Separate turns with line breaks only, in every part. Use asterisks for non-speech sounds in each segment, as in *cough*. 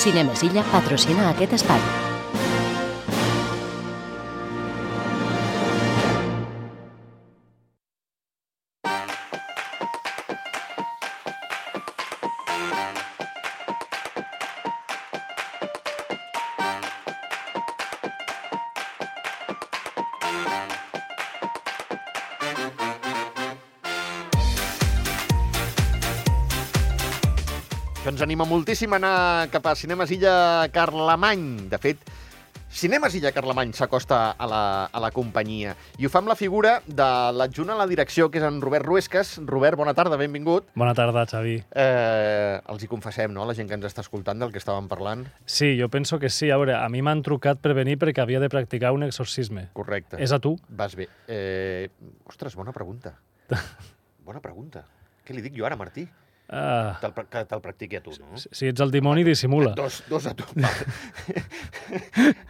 Cinemesilla patrocina aquest espai.
que ens anima moltíssim a anar cap a Cinemes Illa Carlemany. De fet, Cinemes Illa Carlemany s'acosta a, la, a la companyia i ho fa amb la figura de l'adjunt a la direcció, que és en Robert Ruesques. Robert, bona tarda, benvingut.
Bona tarda, Xavi.
Eh, els hi confessem, no?, la gent que ens està escoltant del que estàvem parlant.
Sí, jo penso que sí. A veure, a mi m'han trucat per venir perquè havia de practicar un exorcisme.
Correcte.
És a tu?
Vas bé. Eh, ostres, bona pregunta. Bona pregunta. Què li dic jo ara, Martí?
Ah,
Te'l pra- que te'l practiqui a tu, no?
si ets el dimoni, dissimula.
Dos, dos a *laughs* tu.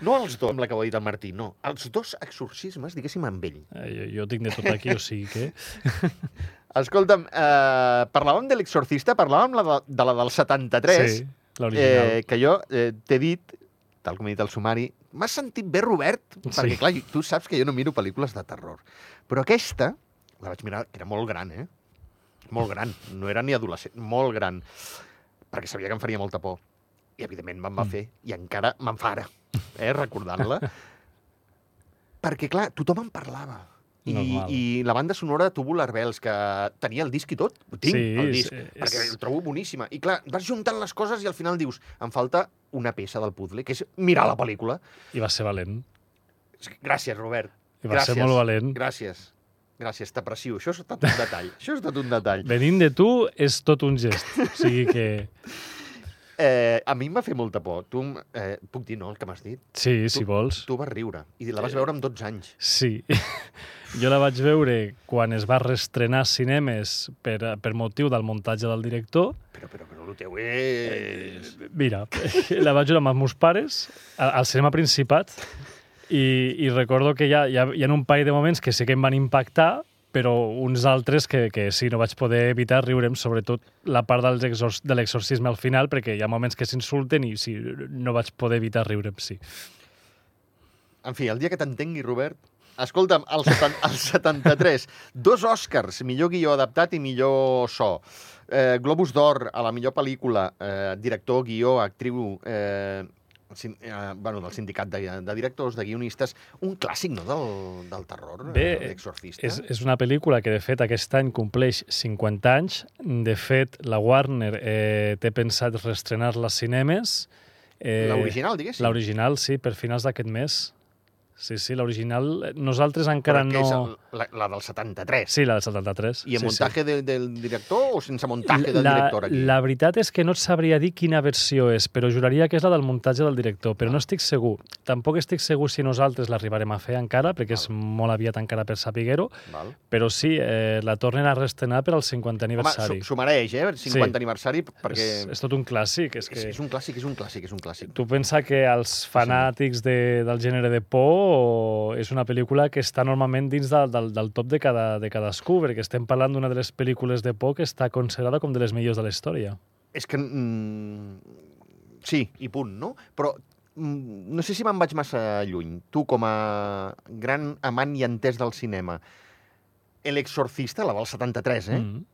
no els dos, amb la que ho ha dit el Martí, no. Els dos exorcismes, diguéssim, amb ell.
Eh, Jo, jo tinc de tot aquí, o sigui que...
*laughs* Escolta'm, eh, parlàvem de l'exorcista, parlàvem la de, de la del 73,
Sí, l'original.
eh, que jo eh, t'he dit, tal com he dit al sumari, m'has sentit bé, Robert? Perquè, clar, tu saps que jo no miro pel·lícules de terror. Però aquesta, la vaig mirar, que era molt gran, eh? Molt gran, no era ni adolescent, molt gran. Perquè sabia que em faria molta por. I, evidentment, me'n
Mm.
va fer. I encara me'n fa ara, eh?
*laughs*
recordant-la. perquè, clar, tothom en parlava. I,
Normal.
I la banda sonora de Tubular Bells, que tenia el disc i tot, ho tinc,
Sí,
el
és-
disc,
és-
perquè el trobo boníssima. I clar, vas juntant les coses i al final dius, em falta una peça del puzzle, que és mirar la pel·lícula.
I va ser valent.
Gràcies, Robert.
I va ser molt valent.
Gràcies. Gràcies, t'aprecio. Això ha estat un detall. Això ha estat un detall.
Venint de tu és tot un gest. O sigui que...
*laughs* Eh, a mi em va fer molta por. Tu, em- eh, puc dir, no, el que m'has dit?
Sí, si vols.
Tu vas riure. I la vas veure amb 12 anys.
Sí. *laughs* Jo la vaig veure quan es va restrenar a cinemes per, per motiu del muntatge del director.
Però, però, però, el teu és...
Mira, *laughs* la vaig veure amb els meus pares a- al cinema Principat i, i recordo que hi ha, hi, ha, hi ha un parell de moments que sí que em van impactar, però uns altres que, que sí, no vaig poder evitar riure'm, sobretot la part dels exor de l'exorcisme al final, perquè hi ha moments que s'insulten i sí, no vaig poder evitar riure'm, sí.
En fi, el dia que t'entengui, Robert... Escolta'm, el, seten, el 73, dos Oscars, millor guió adaptat i millor so. Eh, Globus d'Or a la millor pel·lícula, eh, director, guió, actriu... Eh, sin, eh, bueno, del sindicat de, de directors, de guionistes, un clàssic, no?, del, del terror,
Bé,
eh, l'exorcista.
És, és una pel·lícula que, de fet, aquest any compleix 50 anys. De fet, la Warner eh, té pensat restrenar-la a cinemes. Eh,
L'original, diguéssim.
L'original, sí, per finals d'aquest mes. Sí, sí, l'original... eh, Nosaltres encara
Però que
no...
És el, la, la del 73.
Sí, la del 73.
I
sí,
el muntatge de, del director o sense muntatge del
la,
director aquí?
La veritat és que no et sabria dir quina versió és, però juraria que és la del muntatge del director,
Ah.
però no estic segur. Tampoc estic segur si nosaltres l'arribarem a fer encara,
Ah.
perquè és molt aviat encara per saber-ho,
Val.
però sí, eh, la tornen a restrenar per al 50
Home,
aniversari.
s'ho s'ho mereix, eh? 50
Sí.
aniversari, perquè...
és, és tot un clàssic.
És,
És que...
és un clàssic, és un clàssic, és un clàssic.
Tu pensa que els fanàtics de, del gènere de por o- és una pel·lícula que està normalment dins del, del, del top de, cada, de cadascú, perquè estem parlant d'una de les pel·lícules de por que està considerada com de les millors de la història.
És que... Mm, sí, i punt, no? Però mm, no sé si me'n vaig massa lluny. Tu, com a gran amant i entès del cinema, El Exorcista, la del 73, eh? Mm.
Mm.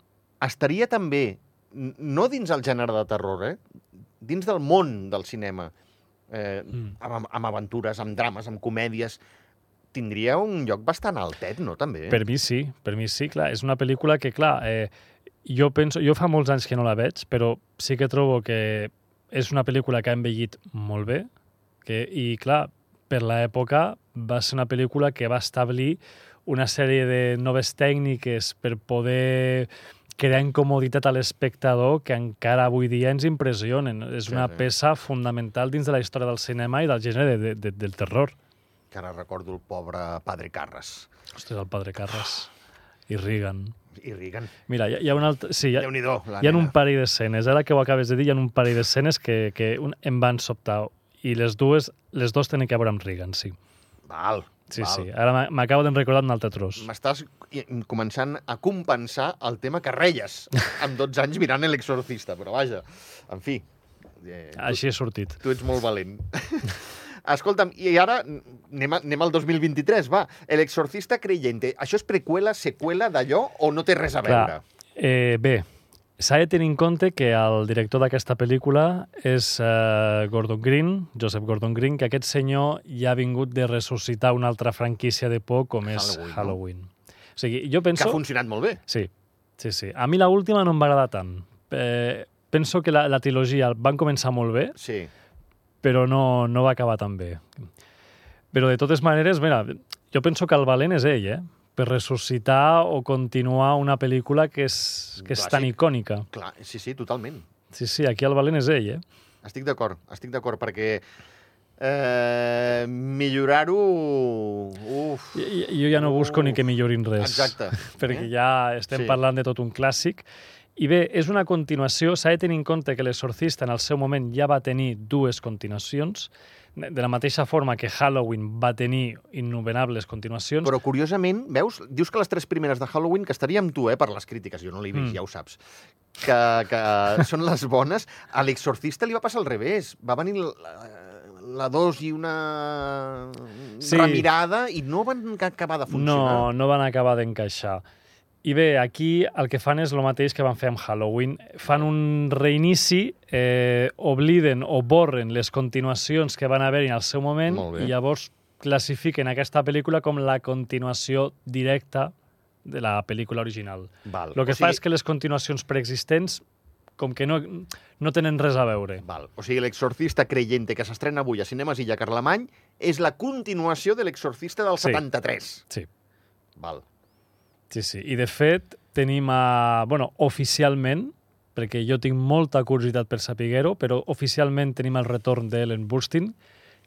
Estaria també, n- no dins el gènere de terror, eh? Dins del món del cinema, eh, mm.
Mm.
amb, amb aventures, amb drames, amb comèdies, tindria un lloc bastant altet, no, també?
Per mi sí, per mi sí, clar. És una pel·lícula que, clar, eh, jo penso... Jo fa molts anys que no la veig, però sí que trobo que és una pel·lícula que ha envellit molt bé que, i, clar, per l'època va ser una pel·lícula que va establir una sèrie de noves tècniques per poder crear incomoditat a l'espectador que encara avui dia ens impressionen. És
Sí,
una
sí.
peça fundamental dins de la història del cinema i del gènere de, de, del terror.
Que ara recordo el pobre Padre Carras.
Ostres, el padre Carras i Reagan.
I Reagan.
Mira, hi ha, hi ha un altre... Sí, hi ha,
Déu-n'hi-do, la
hi ha
nena.
un parell d'escenes. Ara que ho acabes de dir, hi ha un parell d'escenes que, que un, em van sobtar. I les dues, les dues tenen que veure amb Reagan, sí.
Val,
Sí,
val.
sí. Ara m'a- m'acabo de recordar un altre tros.
M'estàs i- començant a compensar el tema que reies amb 12 anys mirant l'exorcista, però vaja, en fi, Eh,
Així he sortit.
Tu ets molt valent. *laughs* Escolta'm, i ara anem, a, anem al 2023, va. El exorcista creyente. Això és preqüela, seqüela d'allò o no té res a veure?
Clar, eh, bé, s'ha de tenir en compte que el director d'aquesta pel·lícula és eh, Gordon Green, Joseph Gordon Green, que aquest senyor ja ha vingut de ressuscitar una altra franquícia de por com és
Halloween, no?
Halloween. O sigui, jo
Que ha
penso...
funcionat molt bé.
Sí, sí, sí. A mi la última no em va agradar tant. Eh, penso que la, la trilogia van començar molt bé,
Sí.
però no, no va acabar tan bé. Però de totes maneres, mira, jo penso que el valent és ell, eh? per ressuscitar o continuar una pel·lícula que és, que és tan
Clàssic.
icònica.
Clar, sí, sí, totalment.
Sí, sí, aquí el valent és ell, eh?
Estic d'acord, estic d'acord, perquè eh, millorar-ho... Uf,
I- i- Jo ja no busco ni que millorin res.
exacte.
*laughs* Perquè
eh?
ja estem
Sí.
parlant de tot un clàssic. I bé, és una continuació. S'ha de tenir en compte que l'exorcista en el seu moment ja va tenir dues continuacions. De la mateixa forma que Halloween va tenir innumerables continuacions.
Però curiosament, veus, dius que les tres primeres de Halloween, que estaria amb tu, eh, per les crítiques, jo no l'he vist,
Mm.
ja ho saps, que, que són les bones, a l'exorcista li va passar al revés. Va venir la, la dos i una sí.
Sí.
remirada i no van acabar de funcionar.
No, no van acabar d'encaixar. I bé, aquí el que fan és el mateix que van fer amb Halloween. Fan un reinici, eh, obliden o borren les continuacions que van haver-hi en el seu moment
Molt bé.
i llavors classifiquen aquesta pel·lícula com la continuació directa de la pel·lícula original.
Val.
El
o
que
sigui,
fa és que les continuacions preexistents com que no, no tenen res a veure.
Val. O sigui, l'exorcista creyente que s'estrena avui a Cinemes Illa Carlemany és la continuació de l'exorcista del
Sí.
73.
Sí.
Val.
Sí, sí. I de fet, tenim a... Bueno, oficialment, perquè jo tinc molta curiositat per saber-ho, però oficialment tenim el retorn d'Ellen Burstyn,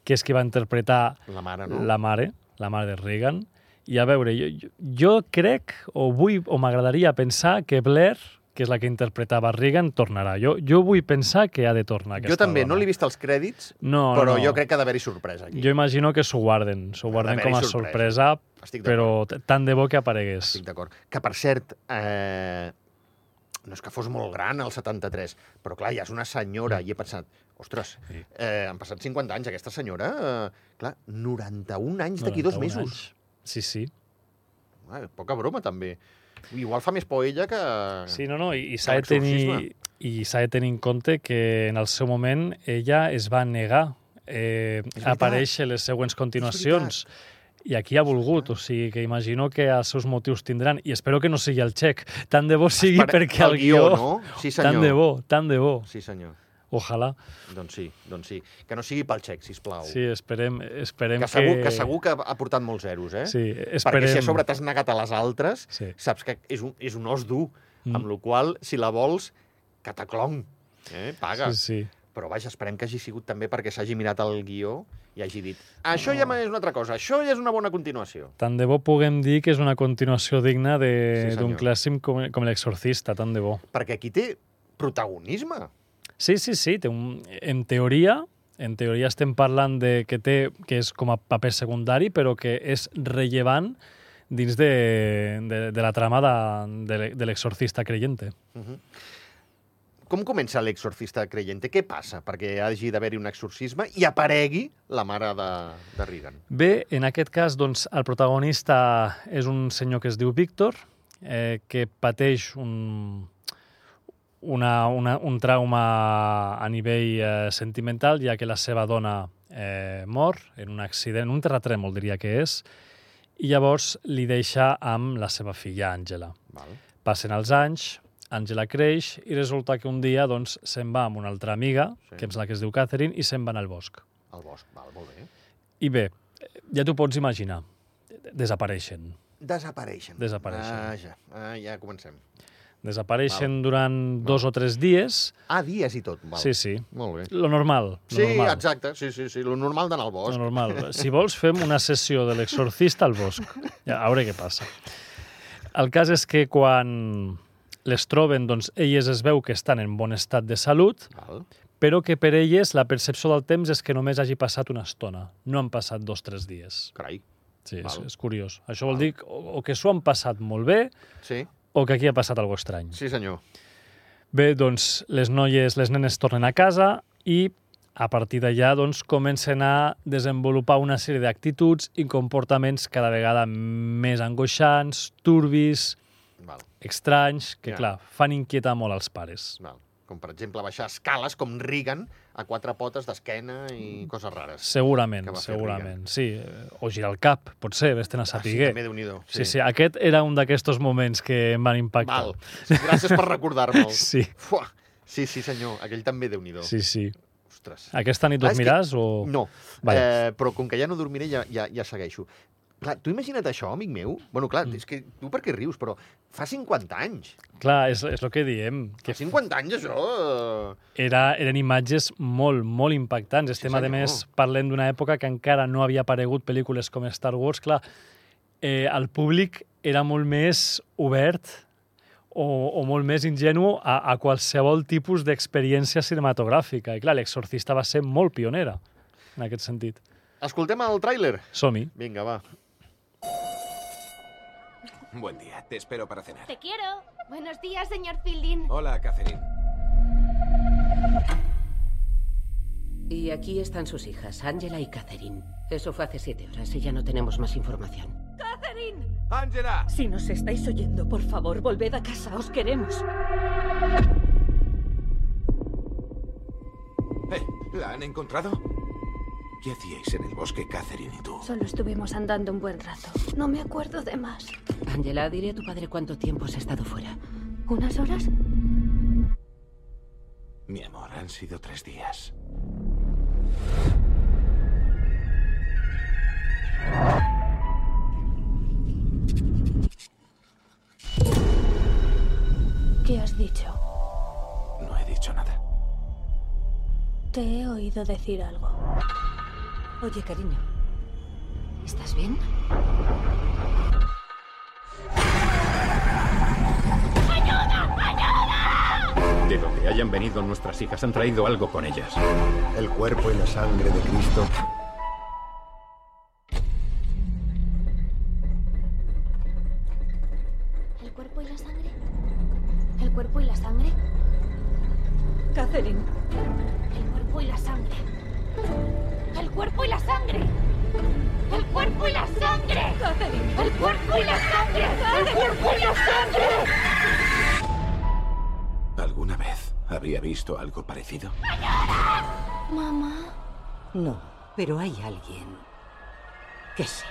que és qui va interpretar
La mare, Ah, no?
la mare, la mare de Reagan. I a veure, jo, jo- jo crec, o vull, o m'agradaria pensar que Blair, que és la que interpretava Reagan, tornarà. Jo, jo vull pensar que ha de tornar aquesta
Jo també,
dona.
no l'he vist als crèdits,
No,
però
no.
jo crec que ha d'haver-hi sorpresa aquí.
Jo imagino que s'ho guarden, s'ho guarden
d'haver-hi
com a
sorpresa.
sorpresa,
Estic d'acord.
però t- tant de bo que aparegués.
Estic d'acord. Que, per cert, eh, no és que fos molt gran el 73, però clar, ja és una senyora, i he pensat, ostres, eh, han passat 50 anys, aquesta senyora, eh, clar, 91 anys d'aquí dos
91
mesos.
anys. Sí, sí.
Ah, poca broma, també. Igual fa més por ella que...
Sí, no, no, i, i
De
s'ha de tenir
l'exorcisme.
i s'ha de tenir en compte que en el seu moment ella es va negar eh,
veritat.
a aparèixer les següents continuacions. I aquí ha volgut, o sigui que imagino que els seus motius tindran, i espero que no sigui el xec, tant de bo sigui
Espera-
perquè el, guió...
no? Sí, senyor.
Tant de bo, tant de bo.
Sí, senyor.
Ojalà.
Doncs sí, doncs sí. Que no sigui pel xec, sisplau.
Sí, esperem, esperem
que, segur, que... que segur que ha portat molts zeros, eh?
Sí,
Perquè
esperem.
si a sobre t'has negat a les altres,
Sí.
saps que és un, és un os dur,
Mm.
mm. amb la qual cosa, si la vols, cataclong, eh? paga.
Sí,
Sí, sí.
sí.
Però vaja, esperem que hagi sigut també perquè s'hagi mirat el guió i hagi dit això ja és una altra cosa, això ja és una bona continuació.
Tant de bo puguem dir que és una continuació digna de-
Sí,
d'un
senyor.
clàssic com, com l'exorcista, tant de bo.
Perquè aquí té protagonisme.
Sí, sí, sí. Té un... En teoria, en teoria estem parlant de que té que és com a paper secundari, però que és rellevant dins de, de, de la trama de, de, l'e- de l'exorcista creyente.
Com comença l'exorcista creyente? Què passa perquè hagi d'haver-hi un exorcisme i aparegui la mare de, de Reagan?
Bé, en aquest cas, doncs, el protagonista és un senyor que es diu Víctor, eh, que pateix un, una, una, un trauma a nivell eh, sentimental, ja que la seva dona eh, mor en un accident, un terratrèmol diria que és, i llavors li deixa amb la seva filla, Àngela.
Val.
Passen els anys, Àngela creix i resulta que un dia doncs, se'n va amb una altra amiga,
Sí.
sí. que em sembla que es diu Catherine, i se'n van al bosc.
Al bosc, val, molt bé.
I bé, ja t'ho pots imaginar. Desapareixen.
Desapareixen.
Desapareixen.
Vaja, ah, ja comencem.
Desapareixen durant dos o tres dies.
Ah, dies i tot, val.
Sí, sí.
Molt bé.
Lo normal. Lo
Sí,
normal.
exacte, sí, sí, sí, lo normal d'anar al
Lo
bosc.
normal. Si vols, fem una sessió de l'exorcista al bosc. Ja, a veure què passa. El cas és que quan les troben, doncs, elles es veu que estan en bon estat de salut,
Val.
però que per elles la percepció del temps és que només hagi passat una estona. No han passat dos o tres dies.
Carai.
Sí, és,
Val.
és curiós. Això vol dir que- o, o que s'ho han passat molt bé
Sí,
o que aquí ha passat alguna cosa estrany.
sí senyor.
Bé, doncs les noies, les nenes tornen a casa i a partir d'allà doncs, comencen a desenvolupar una sèrie d'actituds i comportaments cada vegada més angoixants, turbis,
Val,
estranys, que
Ja.
clar, fan inquietar molt els pares.
val. Com, per exemple, baixar escales com Reagan a quatre potes d'esquena
Mm.
i coses rares.
Segurament,
Que va fer
segurament, sí. eh, O girar el cap, potser, vés-te'n a saber.
Així Ah, també, déu nhi
sí. sí, sí, aquest era un d'aquestos moments que em van impactar.
Val. Gràcies per recordar-me'l.
*laughs* Sí,
Fuà. Sí, sí, senyor. Aquell també, déu nhi
sí, Ah, oh. sí.
Ostres.
Aquesta nit
Clar, és que-
dormiràs o...?
No,
Vale.
eh, però com que ja no dormiré, ja, ja, ja segueixo. Clar, tu imagina't això, amic meu? Bueno, clar,
Mm.
és que tu per què rius, però fa 50 anys.
Clar, és, és el que diem. Que
Que 50 anys, això... eh,
era, eren imatges molt, molt impactants.
Sí,
Estem, a
senyor.
més, parlem d'una època que encara no havia aparegut pel·lícules com Star Wars. Clar, eh, el públic era molt més obert o, o molt més ingenu a, a qualsevol tipus d'experiència cinematogràfica. I clar, l'exorcista va ser molt pionera en aquest sentit.
Escoltem el tràiler.
Som-hi.
Vinga, va.
Buen día, te espero para cenar.
Te quiero. Buenos días, señor Fielding.
Hola, Catherine.
Y aquí están sus hijas, Angela y Catherine. Eso fue hace siete horas y ya no tenemos más información.
¡Ángela!
Si nos estáis oyendo, por favor, volved a casa, os queremos.
Eh, ¿La han encontrado? ¿Qué hacíais en el bosque, Catherine y tú?
Solo estuvimos andando un buen rato. No me acuerdo de más.
Angela, dile a tu padre cuánto tiempo has estado fuera.
¿Unas horas?
Mi amor, han sido tres días.
¿Qué has dicho?
No he dicho nada.
Te he oído decir algo.
Oye, cariño.
¿Estás bien?
De donde hayan venido nuestras hijas han traído algo con ellas.
El cuerpo y la sangre de Cristo
¿El cuerpo y la sangre? ¿El cuerpo y la sangre?
Catherine,
El cuerpo y la sangre. El cuerpo y la sangre. El cuerpo y la sangre.
Catherine,
El cuerpo y la sangre. El cuerpo y la sangre.
¿Alguna vez habría visto algo parecido?
Mamá.
No, pero hay alguien que sí.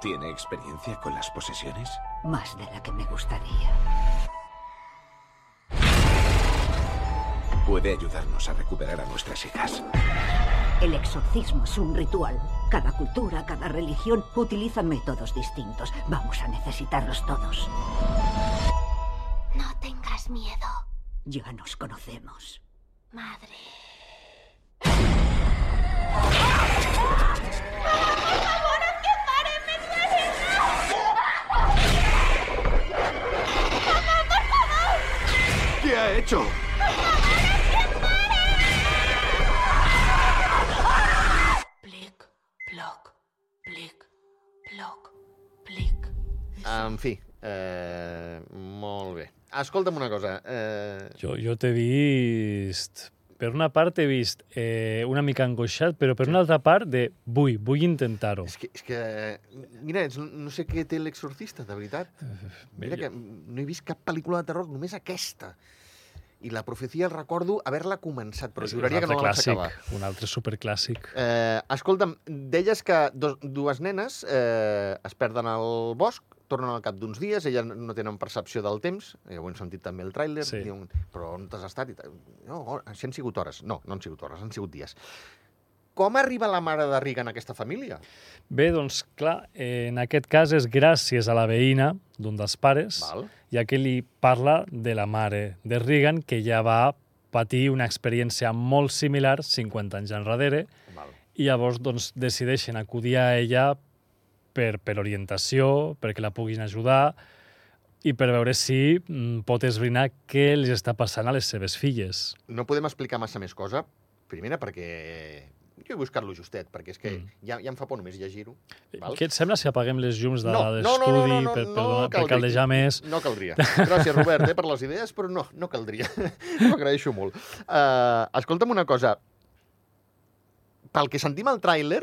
¿Tiene experiencia con las posesiones?
Más de la que me gustaría.
Puede ayudarnos a recuperar a nuestras hijas.
El exorcismo es un ritual. Cada cultura, cada religión utiliza métodos distintos. Vamos a necesitarlos todos.
No tengas miedo,
Ya nos conocemos.
madre.
¿Qué ha hecho?
Plic, ploc, plic, ploc, plic.
En fi, eh, molt bé. Escolta'm una cosa. Eh,
Jo, jo t'he vist... Per una part t'he vist eh, una mica angoixat, però per una altra part de vull, vull intentar-ho.
és, que, és que... Mira, ets, no sé què té l'exorcista, de
Eh,
veritat. Mira que no he vist cap pel·lícula de terror, només aquesta. I la profecia el recordo haver-la començat, però
És
juraria que
un
no
altre
la vaig
clàssic,
acabar.
Un altre superclàssic.
Eh, escolta'm, deies que dos, dues nenes eh, es perden al bosc, tornen al cap d'uns dies, elles no tenen percepció del temps, ja ho hem sentit també el tràiler,
Sí.
sí. diuen, però on t'has estat? I tal. no, ho- si han sigut hores. No, no han sigut hores, han sigut dies. Com arriba la mare de Reagan a aquesta família?
Bé, doncs, clar, eh, en aquest cas és gràcies a la veïna d'un dels pares,
Val?
ja que li parla de la mare de Reagan, que ja va patir una experiència molt similar 50 anys enrere,
Val.
i llavors doncs, decideixen acudir a ella per, per orientació, perquè la puguin ajudar i per veure si mm, pot esbrinar què els està passant a les seves filles.
No podem explicar massa més cosa. Primera, perquè Jo he buscat-lo justet, perquè és que
Mm.
ja, ja em fa por només llegir-ho. val?
Què et sembla si apaguem les llums de
No, no,
l'estudi
no, no, no, no,
per,
no
per, donar- per
caldria.
caldejar més?
No caldria. Gràcies, Robert, eh, per les idees, però no, no caldria. *laughs* Ho agraeixo molt. Uh, escolta'm una cosa. Pel que sentim al tràiler,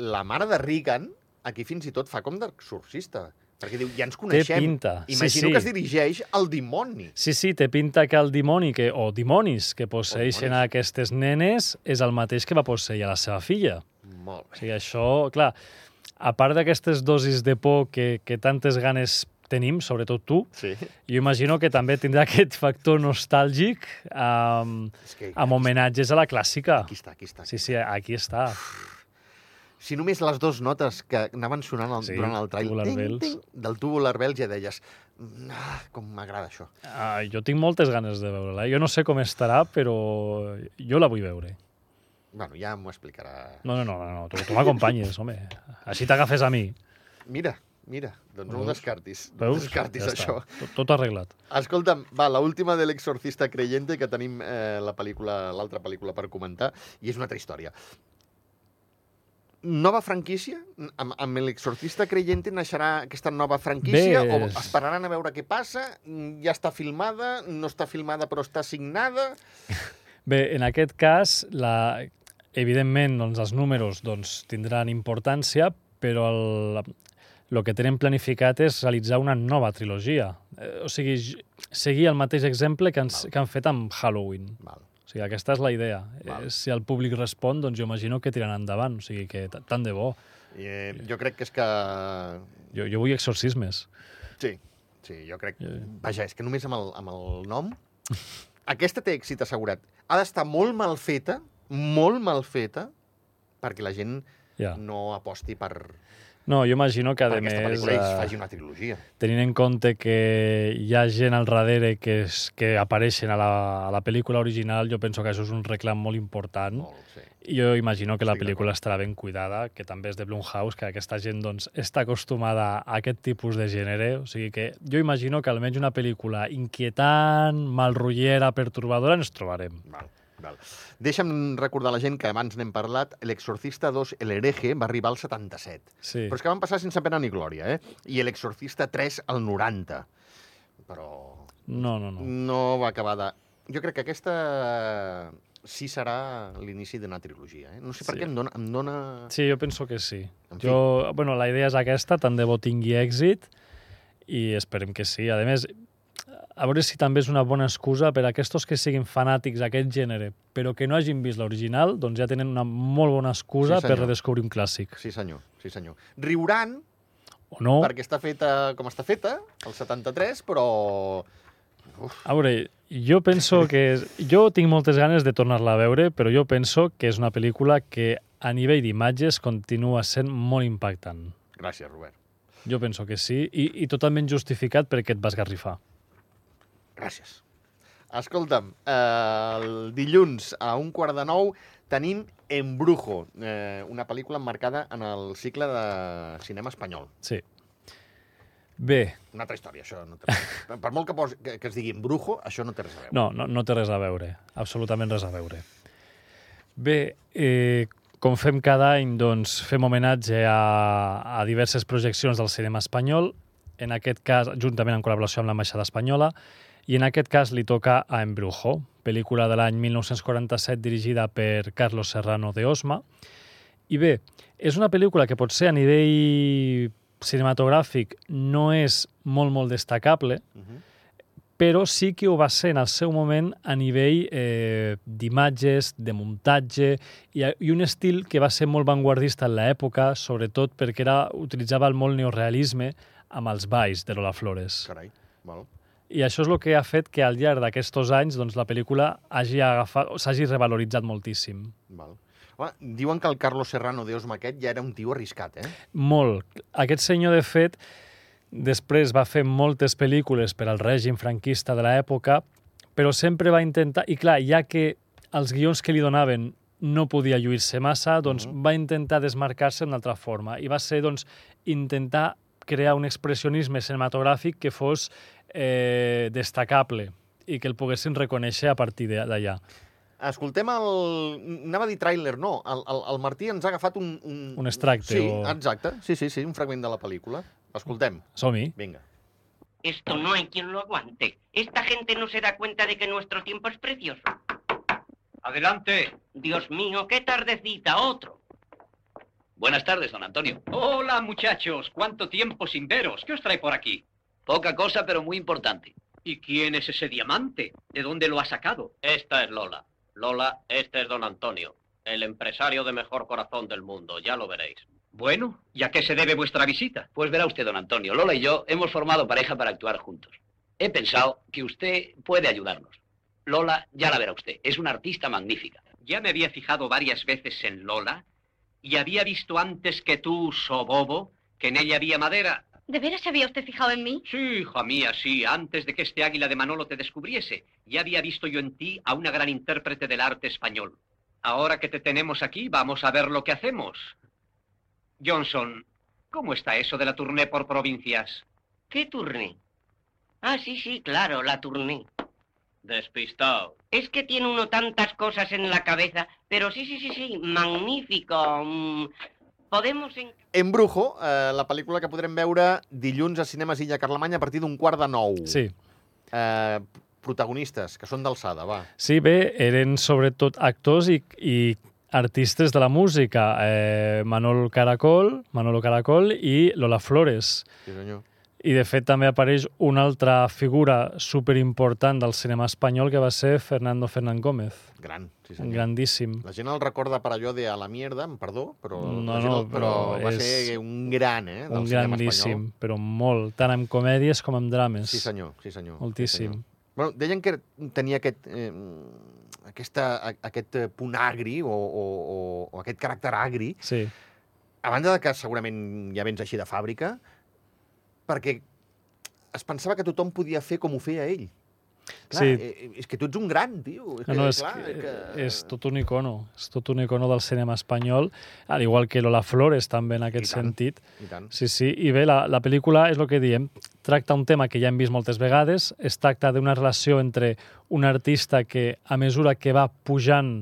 la mare de Regan aquí fins i tot fa com d'exorcista. Perquè diu, ja ens coneixem.
pinta. Sí,
Imagino
sí.
que es dirigeix al dimoni.
Sí, sí, té pinta que el dimoni que, o dimonis que posseeixen
dimonis.
a aquestes nenes és el mateix que va posseir a la seva filla.
Molt
O
bé.
sigui, això, clar, a part d'aquestes dosis de por que, que tantes ganes tenim, sobretot tu,
Sí.
jo imagino que també tindrà *laughs* aquest factor nostàlgic amb,
És que,
amb homenatges a la clàssica.
Aquí està, aquí està.
Sí, sí, aquí està.
Si només les dues notes que anaven sonant al,
Sí,
durant el tràiler
Tubular
ting,
Bells.
ting, del tubular bells ja deies "Mm, ah, com m'agrada això.
Ah, jo tinc moltes ganes de veure-la. eh? Jo no sé com estarà, però jo la vull veure.
Bueno, ja m'ho explicarà
No, no, no, no, no. tu, tu m'acompanyes, home. Així t'agafes a mi.
Mira, mira, doncs no ho
Veus?
descartis. No ho
Veus?
descartis,
ja
això.
Està. Tot, tot arreglat.
Escolta'm, va, l'última de l'exorcista creyente que tenim eh, la pel·lícula, l'altra pel·lícula per comentar, i és una altra història. Nova franquícia? Amb, amb l'exorcista creyente naixerà aquesta nova franquícia?
Bé,
O
és-
esperaran a veure què passa? Mm, Ja està filmada? No està filmada però està signada?
Bé, en aquest cas, la, evidentment, doncs, els números doncs, tindran importància, però el, el que tenen planificat és realitzar una nova trilogia. Eh, o sigui, j- seguir el mateix exemple que, ens, que han fet amb Halloween.
Val.
O sigui, aquesta és la idea.
Val.
Eh, si el públic respon, doncs jo imagino que tiran endavant. O sigui, que t- tant de bo.
I, eh, jo crec que és que...
Jo, jo vull exorcismes.
Sí, sí, jo crec...
Eh.
Vaja, és que només amb el, amb el nom... Aquesta té èxit assegurat. Ha d'estar molt mal feta, molt mal feta, perquè la gent
Ja.
no aposti per,
No, jo imagino que,
Mm. per
Ah. a
aquesta
més,
pel·lícula i es
eh,
faci una trilogia.
tenint en compte que hi ha gent al darrere que, és, que apareixen a la, a la pel·lícula original, jo penso que això és un reclam molt important.
Molt, sí.
I jo imagino que la
Estic
pel·lícula estarà ben cuidada, que també és de Blumhouse, que aquesta gent doncs, està acostumada a aquest tipus de gènere. O sigui que jo imagino que almenys una pel·lícula inquietant, malrotllera, pertorbadora, ens trobarem.
Val, val. Deixa'm recordar a la gent que abans n'hem parlat, l'Exorcista 2, El hereje, va arribar al 77.
Sí.
Però és que van passar sense pena ni glòria, eh? I l'Exorcista 3 al 90. Però
No, no, no.
no va acabar de... Jo crec que aquesta eh, sí serà l'inici d'una trilogia. Eh? No sé per
Sí.
què em dona... Em dona...
Sí, jo penso que sí.
En fi.
Jo, bueno, la idea és aquesta, tant de bo tingui èxit i esperem que sí. A més, a veure si també és una bona excusa per a aquests que siguin fanàtics d'aquest gènere, però que no hagin vist l'original, doncs ja tenen una molt bona
Sí,
excusa sí,
senyor.
per redescobrir un clàssic.
Sí, senyor, sí, senyor. Riuran,
O no?
oh. perquè està feta com està feta, el 73, però...
A veure, jo penso que... és- Jo tinc moltes ganes de tornar-la a veure, però jo penso que és una pel·lícula que a nivell d'imatges continua sent molt impactant.
Gràcies, Robert.
Jo penso que sí, i, i totalment justificat perquè et vas garrifar.
Gràcies. Escolta'm, eh, el dilluns a un quart de nou tenim Embrujo, eh, una pel·lícula emmarcada en el cicle de cinema espanyol.
Sí. Bé,
Una altra història, això no té res. Per- Per molt que, posi, que, que es digui Embrujo, això no té res a veure.
no, no, no té res a veure, absolutament res a veure. Bé, eh, com fem cada any, doncs fem homenatge a, a diverses projeccions del cinema espanyol, en aquest cas, juntament en col·laboració amb l'Ambaixada Espanyola, i en aquest cas li toca a Embrujo, pel·lícula de l'any 1947 dirigida per Carlos Serrano de Osma. I bé, és una pel·lícula que potser a nivell cinematogràfic no és molt, molt destacable,
Mhm.
però sí que ho va ser en el seu moment a nivell eh, d'imatges, de muntatge i, i un estil que va ser molt vanguardista en l'època, sobretot perquè era, utilitzava el molt neorealisme amb els balls de Lola Flores.
Carai, val.
I això és el que ha fet que al llarg d'aquests anys doncs, la pel·lícula hagi agafat, o s'hagi revaloritzat moltíssim.
Val. Home, diuen que el Carlos Serrano de Osma aquest ja era un tio arriscat, eh?
Molt. Aquest senyor, de fet, després va fer moltes pel·lícules per al règim franquista de l'època, però sempre va intentar... I clar, ja que els guions que li donaven no podia lluir-se massa, doncs va intentar desmarcar-se d'una altra forma. I va ser, doncs, intentar crear un expressionisme cinematogràfic que fos eh, destacable i que el poguessin reconèixer a partir de- d'allà.
escoltem el... Anava a dir tràiler, no. El, el, el Martí ens ha agafat un... Un,
Un extracte
Sí,
o-
exacte. Sí, sí, sí, un fragment de la pel·lícula. Escoltem.
Som-hi.
Vinga.
Esto no hay quien lo aguante. Esta gente no se da cuenta de que nuestro tiempo es precioso. Adelante. Dios mío, qué tardecita, otro.
Buenas tardes, don Antonio. Hola, muchachos. ¿Cuánto tiempo sin veros? ¿Qué os trae por aquí? Poca cosa, pero muy importante. ¿Y quién es ese diamante? ¿De dónde lo ha sacado?
Esta es Lola. Lola, este es don Antonio, el empresario de mejor corazón del mundo, ya lo veréis.
Bueno, ¿y a qué se debe vuestra visita? Pues verá usted, don Antonio, Lola y yo hemos formado pareja para actuar juntos. He pensado que usted puede ayudarnos. Lola, ya la verá usted, es una artista magnífica. Ya me había fijado varias veces en Lola y había visto antes que tú, Sobobo, que en ella había madera.
¿De veras se había usted fijado en mí?
Sí, hija mía, sí, antes de que este águila de Manolo te descubriese, ya había visto yo en ti a una gran intérprete del arte español. Ahora que te tenemos aquí, vamos a ver lo que hacemos. Johnson, ¿cómo está eso de la tournée por provincias?
¿Qué turné? Ah, sí, sí, claro, la turné.
Despistado.
Es que tiene uno tantas cosas en la cabeza, pero sí, sí, sí, sí, magnífico. mm. podemos... en-
En Brujo, eh, la pel·lícula que podrem veure dilluns a Cinemes Illa Carlemany a partir d'un quart de nou.
Sí.
Eh, protagonistes, que són d'alçada, va.
Sí, bé, eren sobretot actors i, i artistes de la música. Eh, Manol Caracol, Manolo Caracol i Lola Flores.
Sí, senyor.
I, de fet, també apareix una altra figura superimportant del cinema espanyol que va ser Fernando Fernán Gómez.
Gran, sí
Un
senyor.
grandíssim.
La gent el recorda per allò de a la mierda, em perdó, però,
No,
la gent
no,
el- però,
però
va
és
ser un gran, eh, del
Un
cinema
grandíssim, però molt, tant en comèdies com en
espanyol.
drames.
Sí senyor, sí senyor. Sí,
Moltíssim.
senyor. Bueno, deien que tenia aquest, eh, aquesta, a- aquest eh, punt agri o, o, o, o aquest caràcter agri,
Sí.
a banda de que segurament ja vens així de fàbrica, perquè es pensava que tothom podia fer com ho feia ell. Clar,
Sí. Ah,
eh, és que tu ets un gran, tio. És
No,
que,
no, és,
clar,
que,
que...
és tot un icono, és tot un icono del cinema espanyol, al igual que Lola Flores també en aquest sentit.
I tant.
Sí, sí, i bé, la, la pel·lícula és el que diem, tracta un tema que ja hem vist moltes vegades, es tracta d'una relació entre un artista que a mesura que va pujant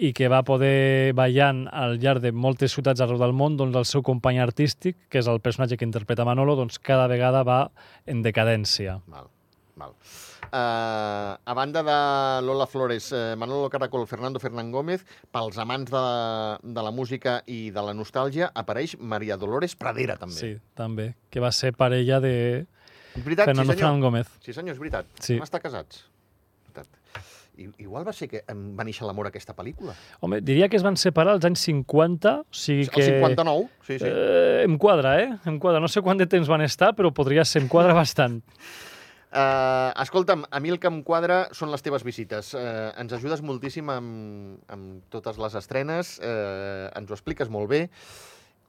i que va poder ballant al llarg de moltes ciutats arreu del món, doncs el seu company artístic, que és el personatge que interpreta Manolo, doncs cada vegada va en decadència.
Val, val. Uh, a banda de Lola Flores, eh, Manolo Caracol, Fernando Fernán Gómez, pels amants de, de la música i de la nostàlgia, apareix Maria Dolores Pradera, també.
Sí, també, que va ser parella de
És veritat,
Fernando
sí, senyor.
Fran Gómez.
Sí, senyor, és veritat.
Sí.
Van estar casats. Veritat. I, igual va ser que em va néixer l'amor a aquesta pel·lícula.
Home, diria que es van separar als anys 50, o sigui
El
que...
59, sí, sí.
Eh, em quadra, eh? Em quadra. No sé quant de temps van estar, però podria ser, em quadra bastant.
Uh, escolta'm, a mi el que em quadra són les teves visites. Uh, ens ajudes moltíssim amb, amb totes les estrenes, uh, ens ho expliques molt bé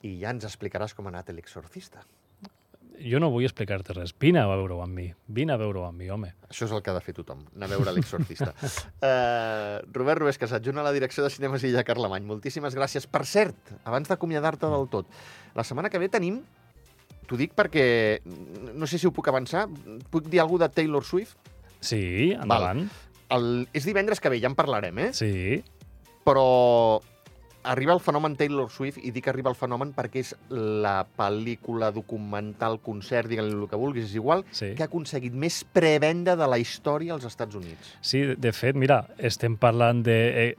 i ja ens explicaràs com ha anat l'exorcista.
Jo no vull explicar-te res. Vine a veure-ho amb mi. Vine a veure-ho amb mi, home.
Això és el que ha de fer tothom, anar a veure l'exorcista. uh, Robert Ruesca, s'adjuna a la direcció de Cinemes Illa Carlemany. Moltíssimes gràcies. Per cert, abans d'acomiadar-te del tot, la setmana que ve tenim, t'ho dic perquè mm, no sé si ho puc avançar, puc dir alguna de Taylor Swift?
Sí, endavant.
El, és divendres que ve, ja en parlarem, eh?
Sí.
Però arriba el fenomen Taylor Swift, i dic arriba el fenomen perquè és la pel·lícula documental, concert, digue-li el que vulguis, és igual,
Sí.
que ha aconseguit més prevenda de la història als Estats Units.
Sí, de- de fet, mira, estem parlant de... Eh,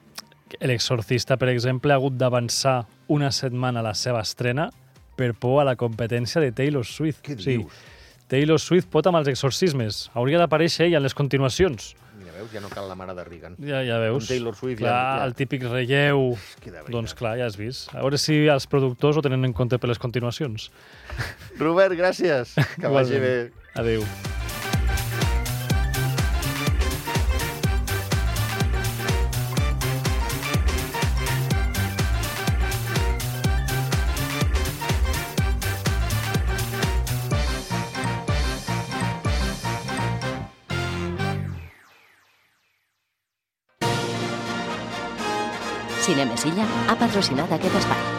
L'exorcista, per exemple, ha hagut d'avançar una setmana la seva estrena per por a la competència de Taylor Swift. Què dius? Taylor Swift pot amb els exorcismes. Hauria d'aparèixer ella en les continuacions.
Mira, veus, ja no cal la mare de Reagan.
Ja, ja veus.
Amb Taylor Swift
clar,
ja- ja-
El típic relleu. Doncs clar, ja has vist. A veure si els productors ho tenen en compte per les continuacions.
Robert,
*laughs*
gràcies. Que vagi bé.
Igualment. Adéu.
Cinemesilla ha patrocinat aquest espai.